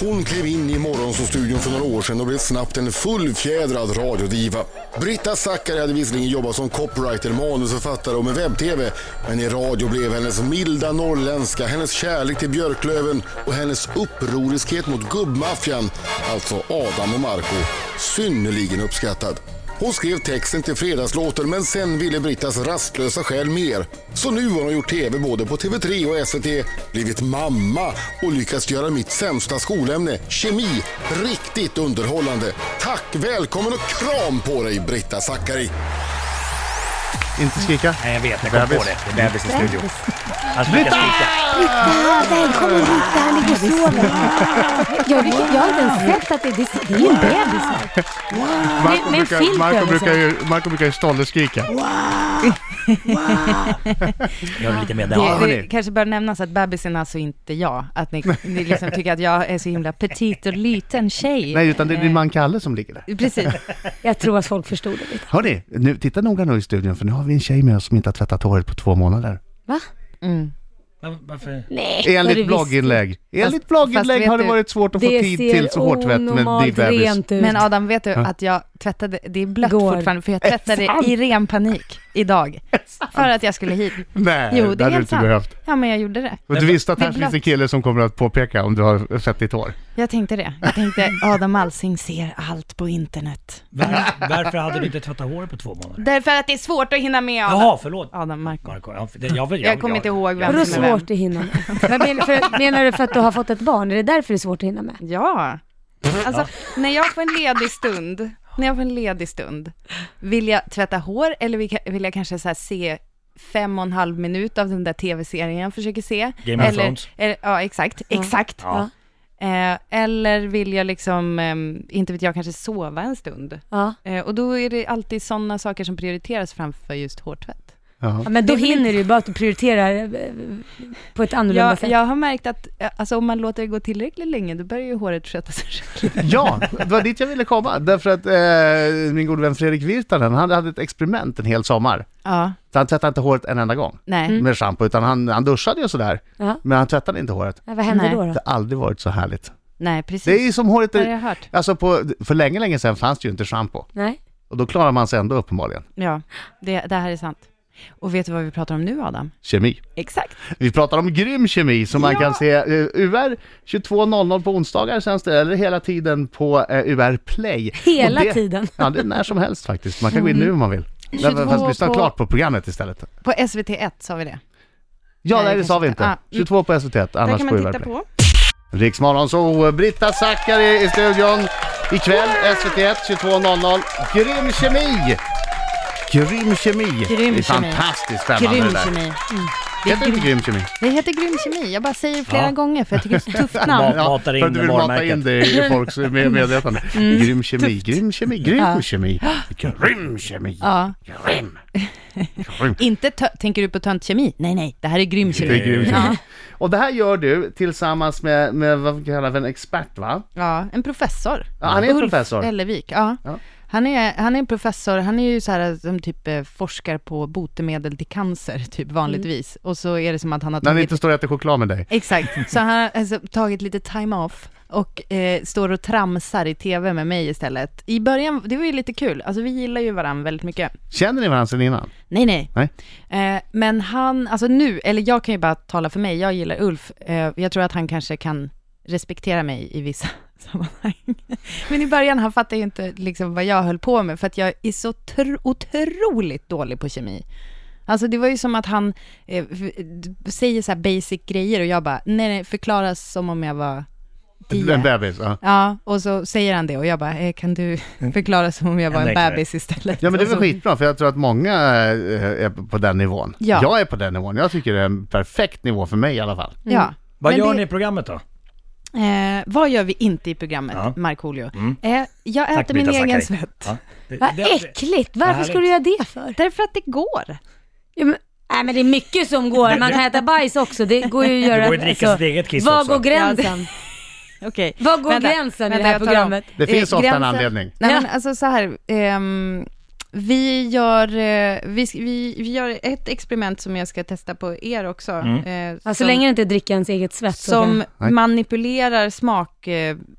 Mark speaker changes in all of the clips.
Speaker 1: Hon klev in i Morgonzoo-studion för några år sedan och blev snabbt en fullfjädrad radiodiva. Britta Zackari hade visserligen jobbat som copywriter, manusförfattare och med webb-tv, men i radio blev hennes milda norrländska, hennes kärlek till Björklöven och hennes upproriskhet mot gubbmaffian, alltså Adam och Marco, synnerligen uppskattad. Hon skrev texten till fredagslåten men sen ville Brittas rastlösa själ mer. Så nu har hon gjort TV både på TV3 och SVT, blivit mamma och lyckats göra mitt sämsta skolämne, kemi, riktigt underhållande. Tack, välkommen och kram på dig Britta Zackari!
Speaker 2: Inte skrika.
Speaker 3: Nej, jag vet. Jag kom
Speaker 2: Bebis.
Speaker 3: på det. Det är bebis i Alltså, studion. Han brukar skrika.
Speaker 4: Ah, välkommen hit, han ligger och sover.
Speaker 5: Jag, jag har inte ens sett att det, det, det är ju en bebis.
Speaker 2: Marco
Speaker 5: Med, liksom. med en
Speaker 2: brukar,
Speaker 5: filt
Speaker 2: Marco
Speaker 5: över
Speaker 2: brukar,
Speaker 5: sig.
Speaker 2: ju, Marco brukar ju stolle skrika.
Speaker 3: Jag är lite med
Speaker 5: Det,
Speaker 3: där.
Speaker 2: hörni.
Speaker 5: det kanske bör nämnas att bebisen är alltså inte jag. Att ni, ni liksom tycker att jag är så himla petit och liten tjej.
Speaker 2: Nej, utan det är din man Kalle som ligger där.
Speaker 5: Precis.
Speaker 4: Jag tror att folk förstod det lite.
Speaker 2: Hörni, nu, titta noga nu i studion för nu har vi en tjej med oss som inte har tvättat håret på två månader.
Speaker 4: Va?
Speaker 3: Men Varför?
Speaker 4: Nej, det
Speaker 2: Enligt
Speaker 4: visst.
Speaker 2: blogginlägg. Enligt
Speaker 5: fast
Speaker 2: blogginlägg
Speaker 5: vet
Speaker 2: har det
Speaker 5: du,
Speaker 2: varit svårt att få
Speaker 4: Det
Speaker 2: tid till
Speaker 4: ser
Speaker 2: så hårtvätt med din
Speaker 4: onormalt
Speaker 2: bebis.
Speaker 4: rent ut.
Speaker 5: Men Adam, vet du att jag tvättade, det är blött
Speaker 4: Går.
Speaker 5: fortfarande, för jag tvättade i ren panik idag. För att jag skulle hit.
Speaker 2: Nej,
Speaker 5: Jo,
Speaker 2: det
Speaker 5: det
Speaker 2: hade du
Speaker 5: är helt
Speaker 2: inte
Speaker 5: sant.
Speaker 2: behövt.
Speaker 5: Ja, men jag gjorde det.
Speaker 2: Och du visste att
Speaker 5: det är
Speaker 2: här finns
Speaker 5: blött.
Speaker 2: en kille som kommer att påpeka om du har fettigt hår.
Speaker 5: Jag tänkte det. Jag tänkte, Adam Alsing ser allt på internet.
Speaker 3: Var, varför hade du inte tvättat håret på två månader?
Speaker 5: Därför att det är svårt att hinna med Adam.
Speaker 3: Jaha, förlåt.
Speaker 5: Adam Marko.
Speaker 3: Marco, jag, jag, jag, jag,
Speaker 5: Jag kommer inte ihåg vem
Speaker 4: Vadå
Speaker 5: som är vem.
Speaker 4: svårt att hinna med? Vad menar, för, menar du för att du har fått ett barn? Är det därför det är svårt att hinna med?
Speaker 5: Ja.
Speaker 3: Mm-hmm.
Speaker 5: Alltså, när jag får en ledig stund, när jag får en ledig stund, vill jag tvätta hår eller vill jag- vill jag kanske så här se fem och en halv minut av den där tv-serien jag försöker se?
Speaker 3: Game of
Speaker 5: eller,
Speaker 3: Thrones.
Speaker 5: Eller, ja, exakt. Exakt.
Speaker 3: Ja.
Speaker 5: Eh, eller vill jag liksom, ehm, inte vet jag, kanske sova en stund?
Speaker 4: Ja.
Speaker 5: Eh, och då är det alltid sådana saker som prioriteras framför just hårtvätt.
Speaker 2: Ja.
Speaker 4: ja men då hinner du ju bara att du prioriterar eh, på ett annorlunda
Speaker 5: Jag,
Speaker 4: sätt.
Speaker 5: jag har märkt att eh, alltså, om man låter det gå tillräckligt länge, då börjar ju håret sköta sig själv.
Speaker 2: Ja, det var dit jag ville komma. Därför att eh, min gode vän Fredrik Virtanen, han hade ett experiment en hel sommar.
Speaker 5: Ja,
Speaker 2: Så han tvättade inte håret en enda gång
Speaker 5: nej.
Speaker 2: med shampoo, utan han, han duschade ju sådär.
Speaker 4: Ja.
Speaker 2: Men han tvättade inte håret.
Speaker 4: Ja, vad händer
Speaker 5: Nej.
Speaker 4: då?
Speaker 2: Det
Speaker 4: då?
Speaker 2: har aldrig varit så härligt.
Speaker 5: Nej, precis.
Speaker 2: Det är ju som håret...
Speaker 5: Det har jag hört.
Speaker 2: Alltså på, för länge, länge sedan fanns det ju inte shampoo.
Speaker 4: Nej.
Speaker 2: Och då klarar man sig ändå uppenbarligen.
Speaker 5: Ja, det, det här är sant. Och vet du vad vi pratar om nu, Adam?
Speaker 2: Kemi.
Speaker 5: Exakt.
Speaker 2: Vi pratar om grym kemi som man
Speaker 5: Ja.
Speaker 2: kan se eh, UR 22.00 på onsdagar sänds det, eller hela tiden på eh, UR Play.
Speaker 4: Hela
Speaker 2: Och det,
Speaker 4: tiden.
Speaker 2: Ja, det är när som helst faktiskt. Man kan gå in nu om man vill. Men, fast
Speaker 5: 22
Speaker 2: lyssna
Speaker 5: Mm. på-
Speaker 2: klart på programmet istället.
Speaker 5: På SVT1 sa vi det.
Speaker 2: Ja,
Speaker 5: Nej,
Speaker 2: nej, det
Speaker 5: kanske
Speaker 2: sa vi
Speaker 5: inte.
Speaker 2: inte.
Speaker 5: Ah, mm.
Speaker 2: 22 på SVT,
Speaker 5: Där
Speaker 2: annars
Speaker 5: kan
Speaker 2: på
Speaker 5: man
Speaker 2: UR
Speaker 5: titta
Speaker 2: Play.
Speaker 5: på.
Speaker 2: Riksmorgon så Britta Zackari i studion. Ikväll SVT1 22.00. Grym kemi! Grym kemi.
Speaker 5: Grym
Speaker 2: det är
Speaker 5: kemi.
Speaker 2: fantastiskt spännande
Speaker 5: Grym
Speaker 2: det där.
Speaker 5: kemi.
Speaker 2: Heter det inte grym kemi?
Speaker 5: Det heter grym kemi. Jag bara säger det flera
Speaker 3: Ja.
Speaker 5: gånger för jag tycker det är ett tufft namn.
Speaker 3: Ja. matar in
Speaker 2: för att du vill mata
Speaker 3: varumärket.
Speaker 2: in det i folks med- medvetande.
Speaker 5: Mm.
Speaker 2: Grym kemi, grym kemi, grym kemi. Grym kemi.
Speaker 5: Ja.
Speaker 2: Grym.
Speaker 5: Inte tö- tänker du på tönt kemi? Nej, nej, det här är grym
Speaker 2: Det är
Speaker 5: kemi.
Speaker 2: grym kemi.
Speaker 5: Ja.
Speaker 2: Och det här gör du tillsammans med, med vad vi kallar för en expert va?
Speaker 5: Ja, en professor.
Speaker 2: Ja, han är en
Speaker 5: Ulf
Speaker 2: professor.
Speaker 5: Ellevik, ja.
Speaker 2: Ja.
Speaker 5: Han är, han är en professor, han är ju så här som typ eh, forskar på botemedel till cancer, typ vanligtvis.
Speaker 2: Mm.
Speaker 5: Och så är det som att han har
Speaker 2: När det
Speaker 5: tagit
Speaker 2: inte står och äter choklad med dig.
Speaker 5: Exakt, så han har alltså tagit lite time off och eh, står och tramsar i tv med mig istället. I början, det var ju lite kul, alltså vi gillar ju varandra väldigt mycket.
Speaker 2: Känner ni varandra sedan innan?
Speaker 5: Nej, nej.
Speaker 2: Nej.
Speaker 5: Eh, men han, alltså nu, eller jag kan ju bara tala för mig, jag gillar Ulf. Eh, jag tror att han kanske kan respektera mig i vissa sammanhang. Men i början, han fattade ju inte liksom vad jag höll på med, för att jag är så tr- otroligt dålig på kemi. Alltså det var ju som att han eh, f- d- säger så här basic grejer och jag bara, nej, nej förklara som om jag var
Speaker 2: En
Speaker 5: tio.
Speaker 2: bebis? Ja.
Speaker 5: Ja, och så säger han det och jag bara, eh, kan du förklara som om jag var
Speaker 3: En
Speaker 5: en
Speaker 3: läkare.
Speaker 5: bebis istället?
Speaker 2: Mm. Ja men det är
Speaker 5: Och så-
Speaker 2: väl skitbra för jag tror att många eh, är på den nivån.
Speaker 5: Ja.
Speaker 2: Jag är på den nivån. Jag tycker det är en perfekt nivå för mig i alla fall.
Speaker 5: Ja.
Speaker 3: Vad
Speaker 5: Men
Speaker 3: gör
Speaker 5: det-
Speaker 3: ni i programmet då?
Speaker 5: Eh, vad gör vi inte i programmet,
Speaker 3: Ja.
Speaker 5: Markoolio?
Speaker 2: Mm.
Speaker 5: Eh, jag
Speaker 3: Tack,
Speaker 5: äter min
Speaker 3: Britta
Speaker 5: egen
Speaker 3: Zackari.
Speaker 5: svett.
Speaker 3: Ja. Det-
Speaker 4: Vad
Speaker 3: det-
Speaker 4: äckligt! Varför
Speaker 3: härligt.
Speaker 4: ska du göra det för?
Speaker 5: Därför att det går.
Speaker 4: Ja, men, nej men det är mycket som går. Man kan äta bajs också. Det går ju att göra...
Speaker 3: Det går ju att dricka sitt eget kiss
Speaker 4: Var
Speaker 3: också.
Speaker 4: går gränsen?
Speaker 5: Okej.
Speaker 4: Var går gränsen i det här
Speaker 5: jag tar
Speaker 4: programmet?
Speaker 5: om.
Speaker 2: Det finns
Speaker 5: Eh,
Speaker 2: ofta en
Speaker 5: gränsen-
Speaker 2: anledning.
Speaker 5: Nej, men
Speaker 4: Ja.
Speaker 5: alltså så här. ehm, Vi gör, eh, vi, sk- vi, vi gör ett experiment som jag ska testa på er också. eh,
Speaker 4: Ja, så
Speaker 5: som-
Speaker 4: Alltså, länge det inte dricker ens eget svett. så kan-
Speaker 5: som
Speaker 2: Mm. Nej.
Speaker 5: manipulerar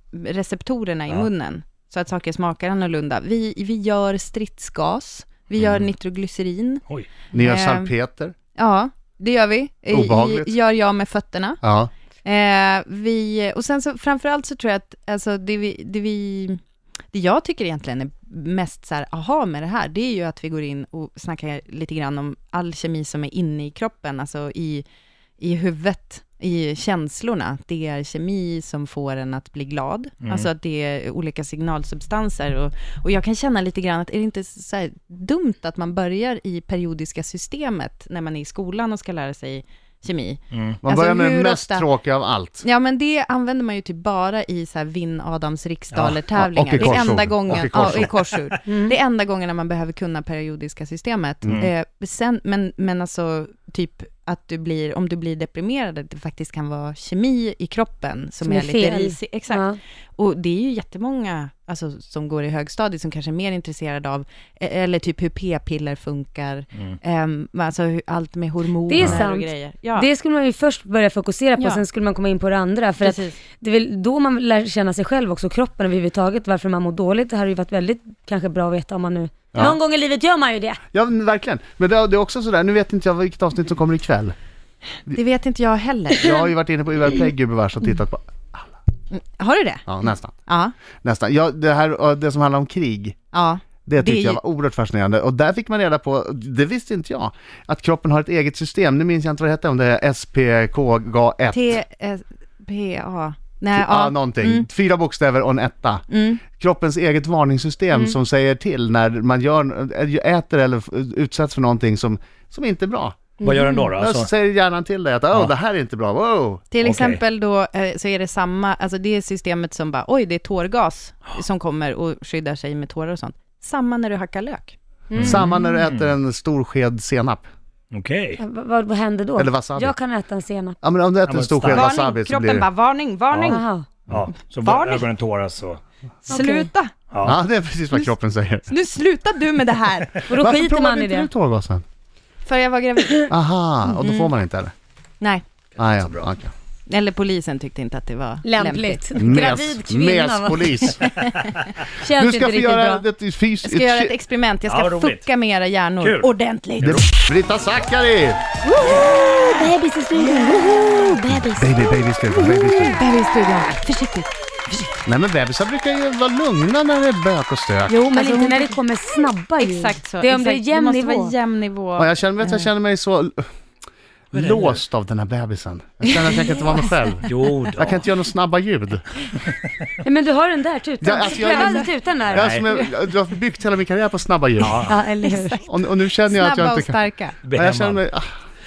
Speaker 5: smakreceptorerna i
Speaker 3: Ja.
Speaker 5: munnen, så att saker smakar annorlunda. Vi, vi gör stridsgas, vi gör
Speaker 2: Mm.
Speaker 5: nitroglycerin,
Speaker 3: Oj.
Speaker 2: Ni gör
Speaker 5: Eh,
Speaker 2: salpeter.
Speaker 5: ja, det gör vi. Eh,
Speaker 2: Obehagligt.
Speaker 5: gör jag med fötterna.
Speaker 2: Ja.
Speaker 5: Eh, vi, och sen så framförallt så tror jag att, alltså det vi, det vi, det jag tycker egentligen är mest så här, aha med det här, det är ju att vi går in och snackar lite grann om all kemi som är inne i kroppen, alltså i, i huvudet, i känslorna. Det är kemi som får en att bli glad,
Speaker 2: Mm.
Speaker 5: alltså att det är olika signalsubstanser. Och, och jag kan känna lite grann att är det inte så här dumt att man börjar i periodiska systemet när man är i skolan och ska lära sig kemi?
Speaker 2: Mm. Man
Speaker 5: Alltså,
Speaker 2: börjar med det
Speaker 5: hur
Speaker 2: mest
Speaker 5: ofta-
Speaker 2: tråkiga av allt.
Speaker 5: Ja men det använder man ju typ bara i så här vinn Adams riksdaler tävlingar.
Speaker 2: och i
Speaker 5: det är enda
Speaker 2: korsord.
Speaker 5: gången,
Speaker 2: Och i
Speaker 5: ja,
Speaker 2: korsord.
Speaker 5: i korsord.
Speaker 4: Mm.
Speaker 5: Det är enda gången när man behöver kunna periodiska systemet.
Speaker 2: Mm.
Speaker 5: Eh, sen, men, men alltså typ att du blir, om du blir deprimerad, att det faktiskt kan vara kemi i kroppen som,
Speaker 4: Som
Speaker 5: är,
Speaker 4: är
Speaker 5: lite
Speaker 4: fel.
Speaker 5: risig. Exakt.
Speaker 4: Ja.
Speaker 5: Och det är ju jättemånga alltså, som går i högstadiet som kanske är mer intresserade av, eh, eller typ hur p-piller funkar,
Speaker 2: Mm.
Speaker 5: ehm, alltså hur, allt med hormoner
Speaker 4: Det är
Speaker 5: och
Speaker 4: sant.
Speaker 5: grejer. Ja.
Speaker 4: Det skulle man ju först börja fokusera på,
Speaker 5: Ja.
Speaker 4: sen skulle man komma in på det andra. För att
Speaker 5: Precis.
Speaker 4: det är väl då man lär känna sig själv också, kroppen överhuvudtaget, varför man mår dåligt. Det här har ju varit väldigt kanske bra att veta om man nu... Någon gång i livet gör man ju det.
Speaker 2: Ja, men verkligen. Men det, det är också sådär, nu vet inte jag vilket avsnitt som kommer ikväll.
Speaker 5: det vet inte jag heller.
Speaker 2: Jag har ju varit inne på UR Play gubevars och tittat på,
Speaker 5: Har du det?
Speaker 2: ja nästan.
Speaker 5: Ja.
Speaker 2: Nästan. Ja, det här, eh, det som handlar om krig.
Speaker 5: Ja.
Speaker 2: Det tyckte
Speaker 5: är ju-
Speaker 2: jag var oerhört fascinerande och där fick man reda på, det visste inte jag, att kroppen har ett eget system. Nu minns jag inte vad det hette, om det är SPKGA1.
Speaker 5: T-S-P-A. eh,
Speaker 4: Eh,
Speaker 5: Nej,
Speaker 2: Ja,
Speaker 5: ja.
Speaker 2: någonting.
Speaker 4: Mm.
Speaker 2: Fyra bokstäver och en etta. Kroppens eget varningssystem
Speaker 4: Mm.
Speaker 2: som säger till när man gör, äter eller f- utsätts för någonting som, som inte är bra.
Speaker 3: Vad gör den då? då?
Speaker 2: Då
Speaker 3: Alltså,
Speaker 2: säger hjärnan till dig att oh, det här är inte bra, wow!
Speaker 5: Till
Speaker 3: Okej.
Speaker 5: exempel då eh, så är det samma, alltså det är systemet som bara, oj det är tårgas som kommer och skyddar sig med tårar och sånt. Samma när du hackar lök.
Speaker 4: Mm.
Speaker 2: Samma när du äter en stor sked senap.
Speaker 3: Okej.
Speaker 4: Ja, Vad, vad, vad händer då?
Speaker 2: Eller wasabi.
Speaker 4: Jag kan äta en senap.
Speaker 2: Ja men om du äter
Speaker 3: men
Speaker 2: en stor
Speaker 3: stark.
Speaker 2: sked wasabi
Speaker 5: Varning,
Speaker 2: så
Speaker 5: kroppen
Speaker 2: blir
Speaker 5: bara
Speaker 2: det...
Speaker 5: varning, varning,
Speaker 4: Jaha.
Speaker 3: Ja, så
Speaker 5: Barn.
Speaker 3: bara ögonen tåras och...
Speaker 5: sluta.
Speaker 2: Ja det är precis vad kroppen säger.
Speaker 5: Nu slutar du med det här.
Speaker 4: Och då
Speaker 2: Varför
Speaker 4: skiter man
Speaker 2: provade
Speaker 4: i
Speaker 2: inte du
Speaker 4: det.
Speaker 2: tårgasen?
Speaker 5: För jag var gravid.
Speaker 2: Aha,
Speaker 4: Mm.
Speaker 2: och då får man inte eller?
Speaker 5: Nej,
Speaker 2: Ah, ja, okej.
Speaker 5: eller polisen tyckte inte att det var lämpligt.
Speaker 4: Lämpligt. Gravid
Speaker 2: Mes,
Speaker 4: kvinna. va?
Speaker 2: mespolis.
Speaker 4: Känns
Speaker 2: Du
Speaker 4: inte
Speaker 2: ska få
Speaker 4: riktigt
Speaker 2: göra
Speaker 4: bra.
Speaker 2: ett
Speaker 5: Jag
Speaker 2: fysiskt...
Speaker 5: ska göra ett experiment, jag
Speaker 3: Ja,
Speaker 5: ska
Speaker 3: vad roligt.
Speaker 5: fucka med era hjärnor
Speaker 3: Kul.
Speaker 5: ordentligt.
Speaker 2: Brita Zackari!
Speaker 4: Bebis i studion, woho! Bebis.
Speaker 2: Baby, baby, studio, baby, studio.
Speaker 5: Bebisstugan, försiktigt.
Speaker 2: Nej men bebisar brukar ju vara lugna när det är bök och stök.
Speaker 4: Jo, men
Speaker 5: Alltså,
Speaker 4: inte
Speaker 5: hon-
Speaker 4: när det kommer snabba ljud.
Speaker 5: Exakt så.
Speaker 4: Det är om det är
Speaker 5: exakt.
Speaker 4: jämn
Speaker 5: måste
Speaker 4: nivå.
Speaker 5: vara jämn nivå.
Speaker 2: Ja, jag känner, vet, du, jag känner mig så l- låst av den här bebisen. Jag känner att jag kan inte vara mig själv.
Speaker 3: Jo då.
Speaker 2: Jag kan inte göra några snabba ljud.
Speaker 4: Nej, men du har den där tutan.
Speaker 2: Ja, alltså, jag-
Speaker 4: Pröva tutan där.
Speaker 2: Jag, är som en- jag har byggt hela min karriär på snabba ljud.
Speaker 4: Ja, eller hur?
Speaker 2: Och, och nu känner jag att jag
Speaker 5: Snabba och
Speaker 2: inte kan...
Speaker 5: starka.
Speaker 2: Ja,
Speaker 3: Behämmad.
Speaker 2: jag känner mig ah,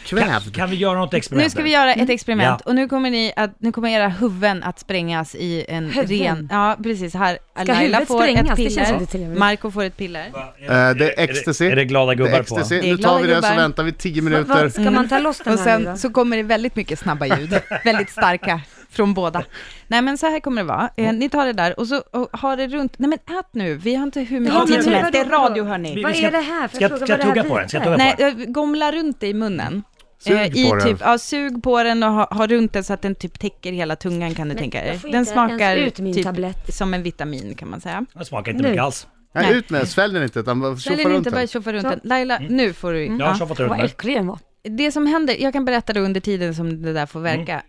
Speaker 3: kan,
Speaker 2: kvävd.
Speaker 3: kan vi göra något experiment?
Speaker 5: Nu ska vi göra
Speaker 4: Mm.
Speaker 5: ett experiment
Speaker 3: Ja.
Speaker 5: och nu kommer, ni att, nu kommer era huvuden att sprängas i en
Speaker 4: Huvuden?
Speaker 5: ren... Ja, precis. Här, Laila
Speaker 4: huvudet
Speaker 5: får
Speaker 4: sprängas?
Speaker 5: ett
Speaker 4: Det känns
Speaker 5: piller.
Speaker 4: inte trevligt.
Speaker 5: Marco får ett piller.
Speaker 2: Eh, det är ecstasy.
Speaker 3: Är det, är det glada
Speaker 2: Det
Speaker 3: gubbar
Speaker 2: är
Speaker 3: på?
Speaker 2: ecstasy.
Speaker 5: Det
Speaker 2: Nu
Speaker 5: är
Speaker 2: tar vi
Speaker 5: glada
Speaker 2: det så
Speaker 5: gubbar.
Speaker 2: väntar vi tio
Speaker 4: Va, va,
Speaker 2: minuter.
Speaker 4: ska man ta loss den
Speaker 5: Och
Speaker 4: här nu då?
Speaker 5: sen så kommer det väldigt mycket snabba ljud. väldigt starka från båda. Nej men så här kommer det vara. Eh, ni tar det där och så och har det runt... Nej men ät nu. Vi har inte hur mycket
Speaker 3: Ja,
Speaker 5: tid
Speaker 3: men
Speaker 5: som
Speaker 3: vadå,
Speaker 5: helst. Det är radio hörni.
Speaker 3: Vi-
Speaker 4: Vad
Speaker 3: vi ska-
Speaker 4: är det här? För
Speaker 3: Ska jag,
Speaker 4: fråga
Speaker 3: ska jag
Speaker 4: vad det här
Speaker 3: tugga på den? Ska jag
Speaker 4: blir?
Speaker 3: tugga
Speaker 5: Nej,
Speaker 3: på den?
Speaker 5: eh, gomla runt det i munnen.
Speaker 2: Sug
Speaker 5: Eh,
Speaker 2: på
Speaker 5: i
Speaker 2: den.
Speaker 5: typ, ja, sug på den och ha, ha runt den så att den typ täcker hela tungan kan du
Speaker 4: Men
Speaker 5: tänka dig.
Speaker 4: jag får
Speaker 5: Den
Speaker 4: inte
Speaker 5: smakar
Speaker 4: ens ut min
Speaker 5: typ
Speaker 4: tablett.
Speaker 5: som en vitamin kan man säga.
Speaker 3: Det smakar inte
Speaker 4: Nu.
Speaker 3: mycket alls.
Speaker 2: Nej, ut med den. Svälj den inte utan bara
Speaker 5: Ställ
Speaker 2: tjoffa
Speaker 5: den
Speaker 2: runt
Speaker 5: inte, bara
Speaker 2: den.
Speaker 5: tjoffa runt den. Laila, nu får du...
Speaker 3: Jag har
Speaker 5: Mm. Ja.
Speaker 3: tjoffat runt
Speaker 4: Vad
Speaker 2: Mm.
Speaker 3: mig.
Speaker 4: äcklig den var.
Speaker 5: Det som händer, jag kan berätta det under tiden som det där får
Speaker 2: Mm.
Speaker 5: verka.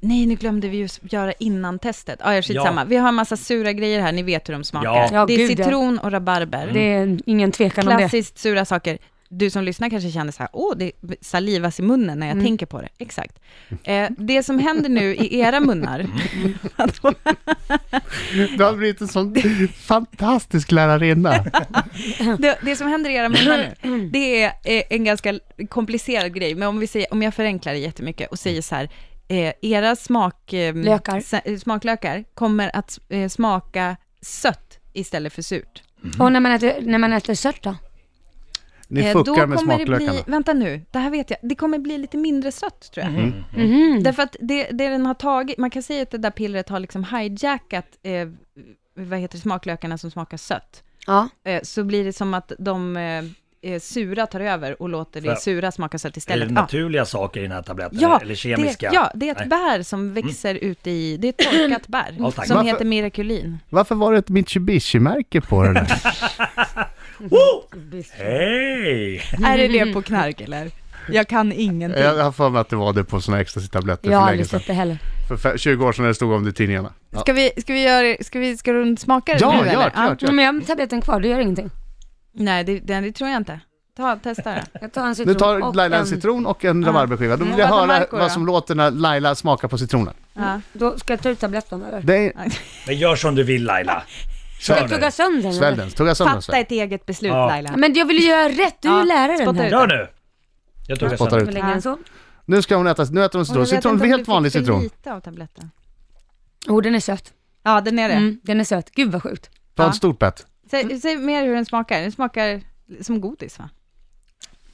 Speaker 5: Nej, nu glömde vi ju s- göra innan testet. Ah, ja, skitsamma.
Speaker 3: Ja.
Speaker 5: Vi har en massa sura grejer här, ni vet hur de smakar.
Speaker 3: Ja.
Speaker 4: Ja,
Speaker 5: det är
Speaker 4: gud, ja.
Speaker 5: citron och rabarber.
Speaker 2: Mm.
Speaker 4: Det är ingen tvekan om det.
Speaker 5: Klassiskt sura saker. Du som lyssnar kanske känner så här, åh, det salivas i munnen när jag
Speaker 4: Mm.
Speaker 5: tänker på det. Exakt. Eh, det som händer nu i era munnar,
Speaker 2: Du har blivit en sån fantastisk lärarinna.
Speaker 5: det, det som händer i era munnar nu, det är eh, en ganska komplicerad grej, men om, vi säger, om jag förenklar det jättemycket och säger så här, eh, era smak, eh,
Speaker 4: Lökar.
Speaker 5: sa- eh, smaklökar kommer att eh, smaka sött istället för surt.
Speaker 4: Och när man äter, när man äter sött då?
Speaker 2: Ni
Speaker 5: Eh,
Speaker 2: fuckar med
Speaker 5: kommer det
Speaker 2: smaklökarna. Mm.
Speaker 5: Bli, vänta nu, det här vet jag. Det kommer bli lite mindre sött tror jag.
Speaker 3: Mm.
Speaker 4: Mhm.
Speaker 5: Därför att det, det den har tagit, man kan säga att det där pillret har liksom hijackat, eh, vad heter det, smaklökarna som smakar sött.
Speaker 4: Ja.
Speaker 5: Eh, så blir det som att de eh, eh, sura tar över och låter det
Speaker 3: För-
Speaker 5: sura smaka sött
Speaker 3: Är det
Speaker 5: istället. Ja.
Speaker 3: naturliga saker i den här tabletten?
Speaker 5: Ja,
Speaker 3: eller kemiska?
Speaker 5: Det, ja, det är ett
Speaker 3: Nej. Mm.
Speaker 5: bär som växer ute i, det är ett torkat bär
Speaker 3: Ja, tack.
Speaker 5: som
Speaker 2: Varför-
Speaker 5: heter mirakulin.
Speaker 2: Varför var det ett Mitsubishi-märke på den där?
Speaker 3: Oh! Hej!
Speaker 5: Är det det på knark eller? Jag kan ingenting.
Speaker 2: jag har för mig att det var det på såna ecstasy-tabletter
Speaker 4: Jag har
Speaker 2: för länge
Speaker 4: aldrig
Speaker 2: sedan.
Speaker 4: sett det heller.
Speaker 2: För fe- 20 år sedan när det stod om det i tidningarna. Ja,
Speaker 5: Ska vi, ska vi göra, ska vi, ska du smaka det
Speaker 2: ja
Speaker 5: nu
Speaker 2: gör,
Speaker 5: eller?
Speaker 2: gör,
Speaker 5: Ja.
Speaker 2: gör,
Speaker 4: Ja, men jag har tabletten kvar, det gör ingenting.
Speaker 5: Nej, det, det, det tror jag inte. Ta, testa det.
Speaker 4: Jag tar en citron
Speaker 2: Nu tar
Speaker 4: och
Speaker 2: Laila en
Speaker 4: en-
Speaker 2: citron och en
Speaker 5: Ja.
Speaker 2: rabarberskiva. Då vill
Speaker 5: Mm.
Speaker 2: jag
Speaker 5: Vad
Speaker 2: höra
Speaker 5: var Marco då?
Speaker 2: vad som låter när Laila smakar på citronen.
Speaker 5: Ja.
Speaker 4: Då ska jag ta ut tabletten eller?
Speaker 2: Det är...
Speaker 3: Men gör som du vill Laila.
Speaker 4: Ska jag
Speaker 3: nu.
Speaker 4: tugga sönder den?
Speaker 2: Svälj
Speaker 4: eller?
Speaker 2: den, tugga sönder den.
Speaker 5: Fatta
Speaker 2: Sven.
Speaker 5: ett eget beslut
Speaker 3: Ja.
Speaker 5: Laila.
Speaker 4: Men jag vill ju göra rätt, du är ju
Speaker 5: Ja,
Speaker 4: läraren
Speaker 5: spotta
Speaker 4: här.
Speaker 5: ut.
Speaker 3: Gör nu! Jag tog
Speaker 2: Spottar
Speaker 3: sen.
Speaker 2: ut.
Speaker 4: Längre än så.
Speaker 2: Nu ska hon äta, nu äter hon
Speaker 5: Och jag
Speaker 2: citron.
Speaker 5: vet
Speaker 2: Citron,
Speaker 5: inte om
Speaker 2: helt
Speaker 5: du
Speaker 2: vanlig
Speaker 5: fick för
Speaker 2: citron.
Speaker 5: lite av tabletten.
Speaker 4: Jo, Oh, den är söt.
Speaker 5: Ja, den är det.
Speaker 4: Mm, den är söt. Gud vad sjukt.
Speaker 2: Ta
Speaker 5: Ja.
Speaker 2: ett stort bett.
Speaker 5: Säg, säg mer hur den smakar. Den smakar som godis va?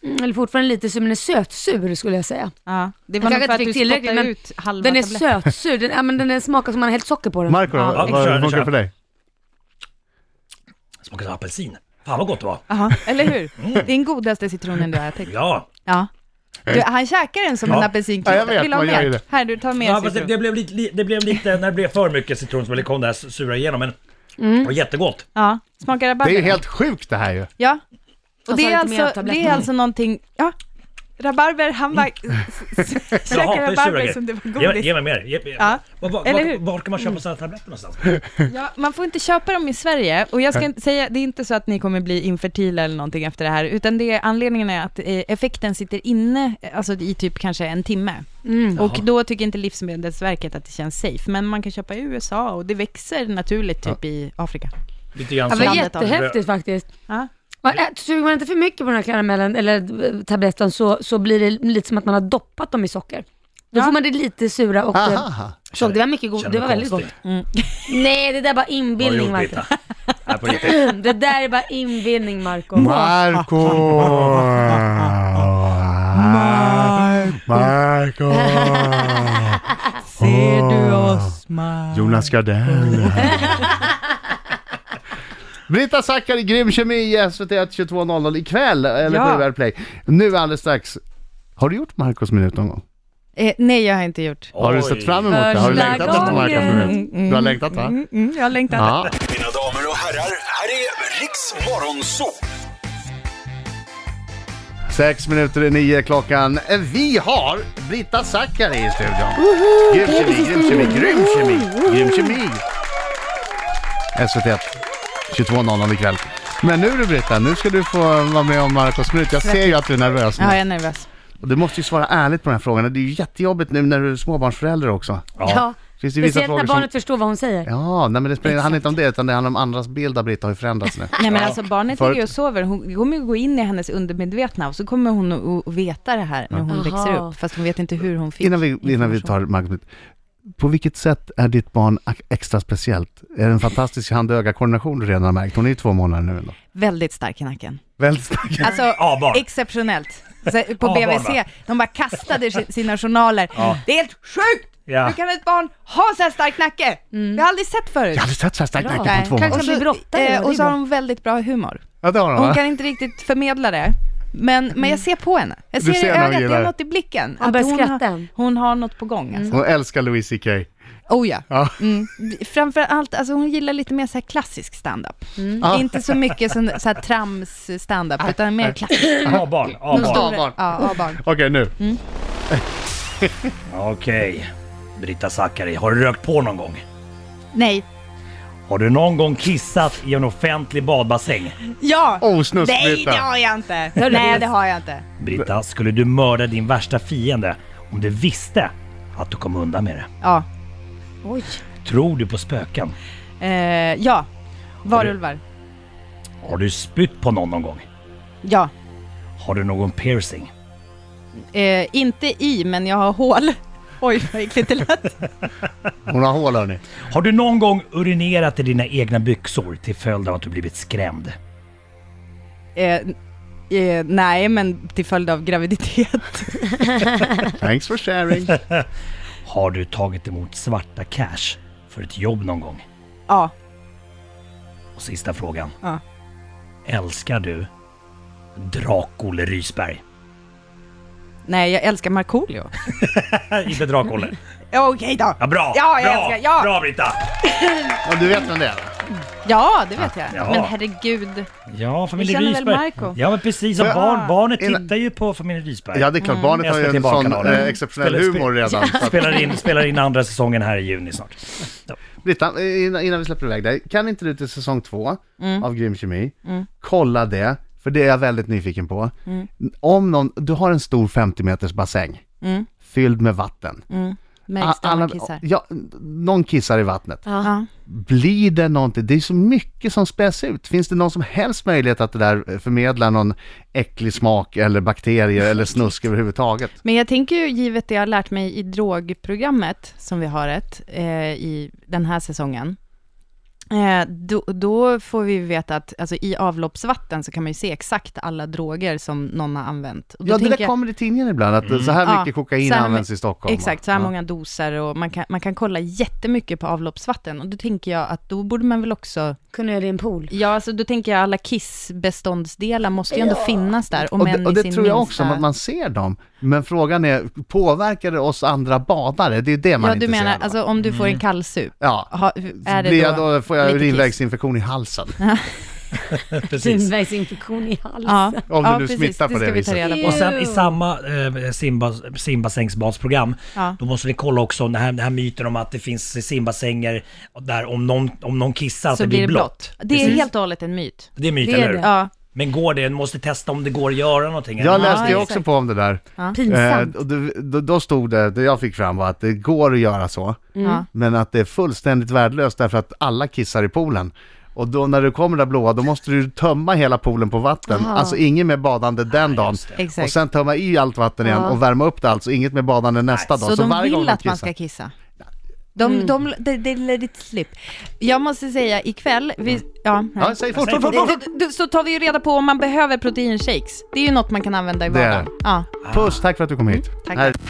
Speaker 4: Mm, eller fortfarande lite sur, men den är sötsur skulle jag säga.
Speaker 5: Ja,
Speaker 4: kanske
Speaker 5: det var nog
Speaker 4: inte
Speaker 5: för att
Speaker 4: fick
Speaker 5: du
Speaker 4: tillräckligt,
Speaker 5: spottade
Speaker 4: men
Speaker 5: ut halva
Speaker 4: Den är
Speaker 5: tabletten.
Speaker 4: sötsur, den, ja, men den är- smakar som man har hällt socker på den.
Speaker 2: Marco,
Speaker 5: Ja,
Speaker 2: vad-
Speaker 3: vi
Speaker 2: vad
Speaker 3: kör, vi
Speaker 2: funkar
Speaker 3: kör.
Speaker 2: för dig?
Speaker 3: Smakar som apelsin. Fan vad gott det var.
Speaker 5: Aha, eller hur?
Speaker 2: Mm.
Speaker 5: Det är den godaste citronen du har ätit.
Speaker 3: Ja,
Speaker 5: Ja. Du, han käkar den som
Speaker 3: Ja.
Speaker 5: en apelsinklotter.
Speaker 2: Mm. Ja, jag vet,
Speaker 5: Vill du ha
Speaker 2: man gör ju
Speaker 5: mer?
Speaker 2: det.
Speaker 5: Här, du tar med
Speaker 3: ja fast det,
Speaker 5: citron.
Speaker 3: det, blev lite, li- det blev lite, när det blev för mycket citron så kom det här sura igenom. Men
Speaker 5: Mm.
Speaker 3: det var jättegott.
Speaker 5: Ja, smakar
Speaker 2: Det är
Speaker 5: rabarber?
Speaker 2: ju helt sjukt det här ju.
Speaker 5: Ja. Och
Speaker 4: Jag
Speaker 5: det
Speaker 4: tar
Speaker 5: är,
Speaker 4: lite mer av
Speaker 5: alltså,
Speaker 4: tabletten.
Speaker 5: det är alltså
Speaker 2: Mm.
Speaker 5: någonting... Ja. Rabarber, han bara...
Speaker 3: Jag
Speaker 5: Käkar
Speaker 3: hatar ju sura
Speaker 5: rabarber som det var
Speaker 3: grejer. Ge,
Speaker 5: godis.
Speaker 3: ge mig mer. Ge,
Speaker 5: Ja,
Speaker 3: var, var,
Speaker 5: eller hur? Mm.
Speaker 3: var, var kan man köpa sådana här tabletter någonstans?
Speaker 5: Ja, man får inte köpa dem i Sverige och jag ska inte säga, det är inte så att ni kommer bli infertila eller någonting efter det här, utan det är, anledningen är att eh, effekten sitter inne, eh, alltså i typ kanske en timme.
Speaker 4: Mm.
Speaker 5: Och då tycker inte Livsmedelsverket att det känns safe, men man kan köpa i USA och det växer naturligt typ i Afrika.
Speaker 3: Lite grann
Speaker 4: Ja,
Speaker 3: som...
Speaker 4: det var
Speaker 5: Landet av-
Speaker 4: jättehäftigt faktiskt.
Speaker 5: Ja.
Speaker 4: Man ä- Suger man inte för mycket på den här karamellen eller eh, tabletten så, så blir det lite som att man har doppat dem i socker. Då
Speaker 5: Ja.
Speaker 4: får man det lite sura och eh,
Speaker 2: Aha.
Speaker 4: tjock. Det var mycket gott.
Speaker 3: Känner
Speaker 4: Det var
Speaker 3: mig
Speaker 4: väldigt gott.
Speaker 3: konstig.
Speaker 4: Nej, det där är bara inbildning
Speaker 3: Vad gjort,
Speaker 4: Marco.
Speaker 3: Britta? Nej, på riktigt.
Speaker 4: Det där är bara inbildning Marco.
Speaker 2: Marco! Marco!
Speaker 5: Ser du oss, man?
Speaker 2: Jonas Gardell. Britta Zackari, Grym Kemi i SVT 1 22.00 ikväll, eller
Speaker 5: Ja.
Speaker 2: på UR Play. Nu alldeles strax. Har du gjort Marcos minut någon gång?
Speaker 5: Eh, nej, jag har inte gjort.
Speaker 2: Har du
Speaker 3: Oj.
Speaker 2: sett fram emot det? Har du
Speaker 4: Första
Speaker 2: längtat efter Marcos
Speaker 4: gången.
Speaker 2: minut? Du har längtat va?
Speaker 5: Mm, mm, jag har längtat.
Speaker 2: Ja.
Speaker 6: Mina damer och herrar, här är Riks Morgonzoo!
Speaker 2: Sex minuter i nio klockan. Vi har Britta Zackari i studion. Grym kemi, grym kemi, grym kemi, grym kemi. SVT 22.00 ikväll. Men nu du Britta, nu ska du få vara med om Marcos minut. Jag ser ju att du är nervös
Speaker 5: Ja, jag
Speaker 2: nu.
Speaker 5: är nervös.
Speaker 2: Och Du måste ju svara ärligt på den här frågan. Det är ju jättejobbigt nu när du är småbarnsförälder också.
Speaker 4: Ja.
Speaker 2: Finns det vissa
Speaker 4: Speciellt
Speaker 2: frågor
Speaker 4: när barnet
Speaker 2: som...
Speaker 4: förstår vad hon säger.
Speaker 2: Ja, nej men det spelar- handlar inte om det utan det handlar om andras bild av Britta har ju förändrats nu.
Speaker 5: Nej men alltså barnet
Speaker 2: Förut-
Speaker 5: ligger och sover, hon kommer ju gå in i hennes undermedvetna och så kommer hon att- att veta det här när hon
Speaker 4: Aha.
Speaker 5: växer upp, fast hon vet inte hur hon fick
Speaker 2: Innan vi, innan vi tar Marcus Mitt. På vilket sätt är ditt barn ac- extra speciellt? Är det en fantastisk hand-öga-koordination du redan har märkt? Hon är ju två månader nu ändå.
Speaker 5: Väldigt stark i nacken.
Speaker 2: Väldigt stark.
Speaker 5: Alltså,
Speaker 3: Ja, barn.
Speaker 5: exceptionellt. Så På
Speaker 3: Ja, barn,
Speaker 5: BVC,
Speaker 3: va?
Speaker 5: de bara kastade si- sina journaler. Det är helt sjukt!
Speaker 3: Ja.
Speaker 5: Hur kan ett barn ha så här stark nacke? Jag har aldrig sett förut.
Speaker 2: Jag har aldrig sett så här stark
Speaker 4: Bra.
Speaker 2: nacke på en
Speaker 4: Nej.
Speaker 2: två
Speaker 4: Mm. Kanske-
Speaker 2: månader.
Speaker 5: och så,
Speaker 4: blir brottare, det är
Speaker 5: eh, och så
Speaker 4: bra.
Speaker 5: har hon väldigt bra humor.
Speaker 2: Ja, det har hon
Speaker 5: Hon
Speaker 2: va?
Speaker 5: kan inte riktigt förmedla det, men, men jag ser på henne. Jag
Speaker 2: Du
Speaker 5: ser,
Speaker 2: ser
Speaker 5: i
Speaker 2: när hon
Speaker 5: ögat, det
Speaker 2: gillar
Speaker 5: är
Speaker 2: det.
Speaker 5: något i blicken.
Speaker 4: Hon börjar skratta Mm.
Speaker 5: har,
Speaker 4: än.
Speaker 5: hon har något på gång alltså.
Speaker 2: Hon älskar Louis CK.
Speaker 5: Oh ja.
Speaker 2: Ja.
Speaker 5: Mm. Framförallt, alltså hon gillar lite mer så här klassisk standup.
Speaker 4: Mm.
Speaker 2: Ah.
Speaker 5: Inte så mycket som så här trams standup, utan mer klassisk.
Speaker 3: A-barn, A-barn.
Speaker 2: A-barn.
Speaker 5: Ja, A-barn.
Speaker 2: Okej, nu.
Speaker 3: Okej. Britta Zackari, har du rökt på någon gång?
Speaker 5: Nej.
Speaker 3: Har du någon gång kissat i en offentlig badbassäng?
Speaker 5: Ja!
Speaker 2: Oh, snusk
Speaker 5: Nej, det
Speaker 2: Britta.
Speaker 5: har jag inte. Nej, det har jag inte.
Speaker 3: Britta, skulle du mörda din värsta fiende om du visste att du kom undan med det?
Speaker 5: Ja.
Speaker 4: Oj.
Speaker 3: Tror du på spöken?
Speaker 5: Eh, ja. Varulvar.
Speaker 3: Har du spytt på någon någon gång?
Speaker 5: Ja.
Speaker 3: Har du någon piercing?
Speaker 5: Eh, inte i, men jag har hål. Oj, vad äckligt det lät.
Speaker 2: Hon har hål hörni.
Speaker 3: Har du någon gång urinerat i dina egna byxor till följd av att du blivit skrämd?
Speaker 5: Eh, Eh, nej, men till följd av graviditet.
Speaker 2: Thanks for sharing.
Speaker 3: Har du tagit emot svarta cash för ett jobb någon gång?
Speaker 5: ja,
Speaker 3: Och sista frågan.
Speaker 5: Ja.
Speaker 3: Älskar du Drak-Olle Rysberg?
Speaker 5: nej, jag älskar Markoolio.
Speaker 3: Inte Drak-Olle.
Speaker 5: Ja, Okej då.
Speaker 3: Ja, bra!
Speaker 5: Ja, jag
Speaker 3: bra,
Speaker 5: älskar- ja.
Speaker 3: bra Britta!
Speaker 2: Och du vet vem det är? va?
Speaker 5: Ja, det vet jag.
Speaker 3: Ja.
Speaker 5: Men herregud.
Speaker 3: Ja, familjen
Speaker 5: Vi känner väl
Speaker 3: Rysberg.
Speaker 5: Marco?
Speaker 3: Ja, men precis.
Speaker 2: Får
Speaker 3: Och
Speaker 2: jag-
Speaker 3: barn, barnet
Speaker 2: Innan-
Speaker 3: tittar ju på familjen Rysberg.
Speaker 2: Ja, det är klart. Barnet har ju
Speaker 3: SVT
Speaker 2: en sån
Speaker 3: Barnkanalen.
Speaker 2: eh, exceptionell
Speaker 3: Spelar-
Speaker 2: humor redan. så att-
Speaker 3: Spelar in, spelar in andra säsongen här i juni snart. Ja.
Speaker 2: Britta, eh, innan, innan vi släpper iväg dig. Kan inte du till säsong två
Speaker 5: Mm.
Speaker 2: av Grym Kemi, kolla det, för det är jag väldigt nyfiken på.
Speaker 5: Mm.
Speaker 2: Om någon, du har en stor 50 meters bassäng,
Speaker 5: Mm.
Speaker 2: fylld med vatten.
Speaker 5: Märks det
Speaker 2: A-
Speaker 5: om
Speaker 2: alla-
Speaker 5: Mm. man kissar?
Speaker 2: ja, någon kissar i vattnet.
Speaker 5: Ja.
Speaker 2: Blir det någonting? Det är så mycket som späs ut. Finns det någon som helst möjlighet att det där förmedlar någon äcklig smak eller bakterier eller snusk överhuvudtaget?
Speaker 5: Men jag tänker ju, givet det jag har lärt mig i drogprogrammet, som vi har ett eh, i den här säsongen, eh, då, då får vi ju veta att alltså, i avloppsvatten så kan man ju se exakt alla droger som någon har använt. Och då
Speaker 2: Ja, det
Speaker 5: tänker
Speaker 2: där
Speaker 5: jag- Mm.
Speaker 2: kommer i tidningen ibland, att så här
Speaker 5: Ja,
Speaker 2: mycket kokain
Speaker 5: så här
Speaker 2: används
Speaker 5: my-
Speaker 2: i Stockholm.
Speaker 5: Exakt, så här
Speaker 2: Ja.
Speaker 5: många doser och man kan, man kan kolla jättemycket på avloppsvatten. Och då tänker jag att då borde man väl också...
Speaker 4: Kunde göra det i en pool.
Speaker 5: Ja, alltså då tänker jag alla kissbeståndsdelar måste ju ändå finnas där. Om
Speaker 2: Och
Speaker 5: än
Speaker 2: det,
Speaker 5: i
Speaker 2: och det
Speaker 5: sin
Speaker 2: tror jag också,
Speaker 5: minsta-
Speaker 2: att man ser dem. Men frågan är, påverkar det oss andra badare? Det är ju det man
Speaker 5: Ja,
Speaker 2: inte
Speaker 5: du menar,
Speaker 2: ser.
Speaker 5: alltså om du får en kallsup,
Speaker 2: ja.
Speaker 5: ha, är det
Speaker 2: Blir
Speaker 5: då...
Speaker 2: jag då får jag
Speaker 5: lite kiss?
Speaker 2: urinvägsinfektion i halsen.
Speaker 3: Precis.
Speaker 4: Urinvägsinfektion i halsen.
Speaker 5: Ja,
Speaker 2: Om du
Speaker 5: ja,
Speaker 2: nu smittar på det
Speaker 5: det ska vi
Speaker 2: viset.
Speaker 5: ta reda på.
Speaker 4: Ew.
Speaker 3: Och sen i samma eh, simbas, simbassängsbadsprogram,
Speaker 5: Ja.
Speaker 3: då måste vi kolla också den här, den här myten om att det finns simbassänger där om någon, om någon kissar att
Speaker 5: Så
Speaker 3: det blir blått.
Speaker 5: Det är
Speaker 3: Precis.
Speaker 5: helt och hållet en myt.
Speaker 3: Det är myt,
Speaker 4: Det är
Speaker 3: eller hur?
Speaker 4: det.
Speaker 5: Ja,
Speaker 3: Men går det? Du måste testa om det går att göra någonting.
Speaker 2: Jag
Speaker 3: eller?
Speaker 2: läste ju
Speaker 5: exakt.
Speaker 2: också på om det där.
Speaker 4: Pinsamt.
Speaker 2: Eh, och det, då, då stod det, det jag fick fram var att det går att göra så,
Speaker 5: Mm. Ja.
Speaker 2: men att det är fullständigt värdelöst därför att alla kissar i poolen. Och då när du kommer där blåa, då måste du tömma hela poolen på vatten.
Speaker 4: Aha.
Speaker 2: Alltså inget mer badande den dagen.
Speaker 5: exakt.
Speaker 2: Och sen tömma i allt vatten igen
Speaker 4: Ja.
Speaker 2: och värma upp det alltså, inget mer badande nästa dag.
Speaker 5: så, de
Speaker 2: varje gång
Speaker 5: vill
Speaker 2: de
Speaker 5: att man
Speaker 2: kissar-
Speaker 5: ska kissa. De, de, de, de let it slip. Jag måste säga, ikväll, vi, ja,
Speaker 2: Ja, säg fort, fort, fort, fort, fort.
Speaker 5: fort. Så tar vi ju reda på om man behöver proteinshakes. Det är ju något man kan använda i
Speaker 2: Det är
Speaker 5: vardagen. Ja.
Speaker 2: Puss, tack för att du kom hit.
Speaker 5: tack.
Speaker 2: Här-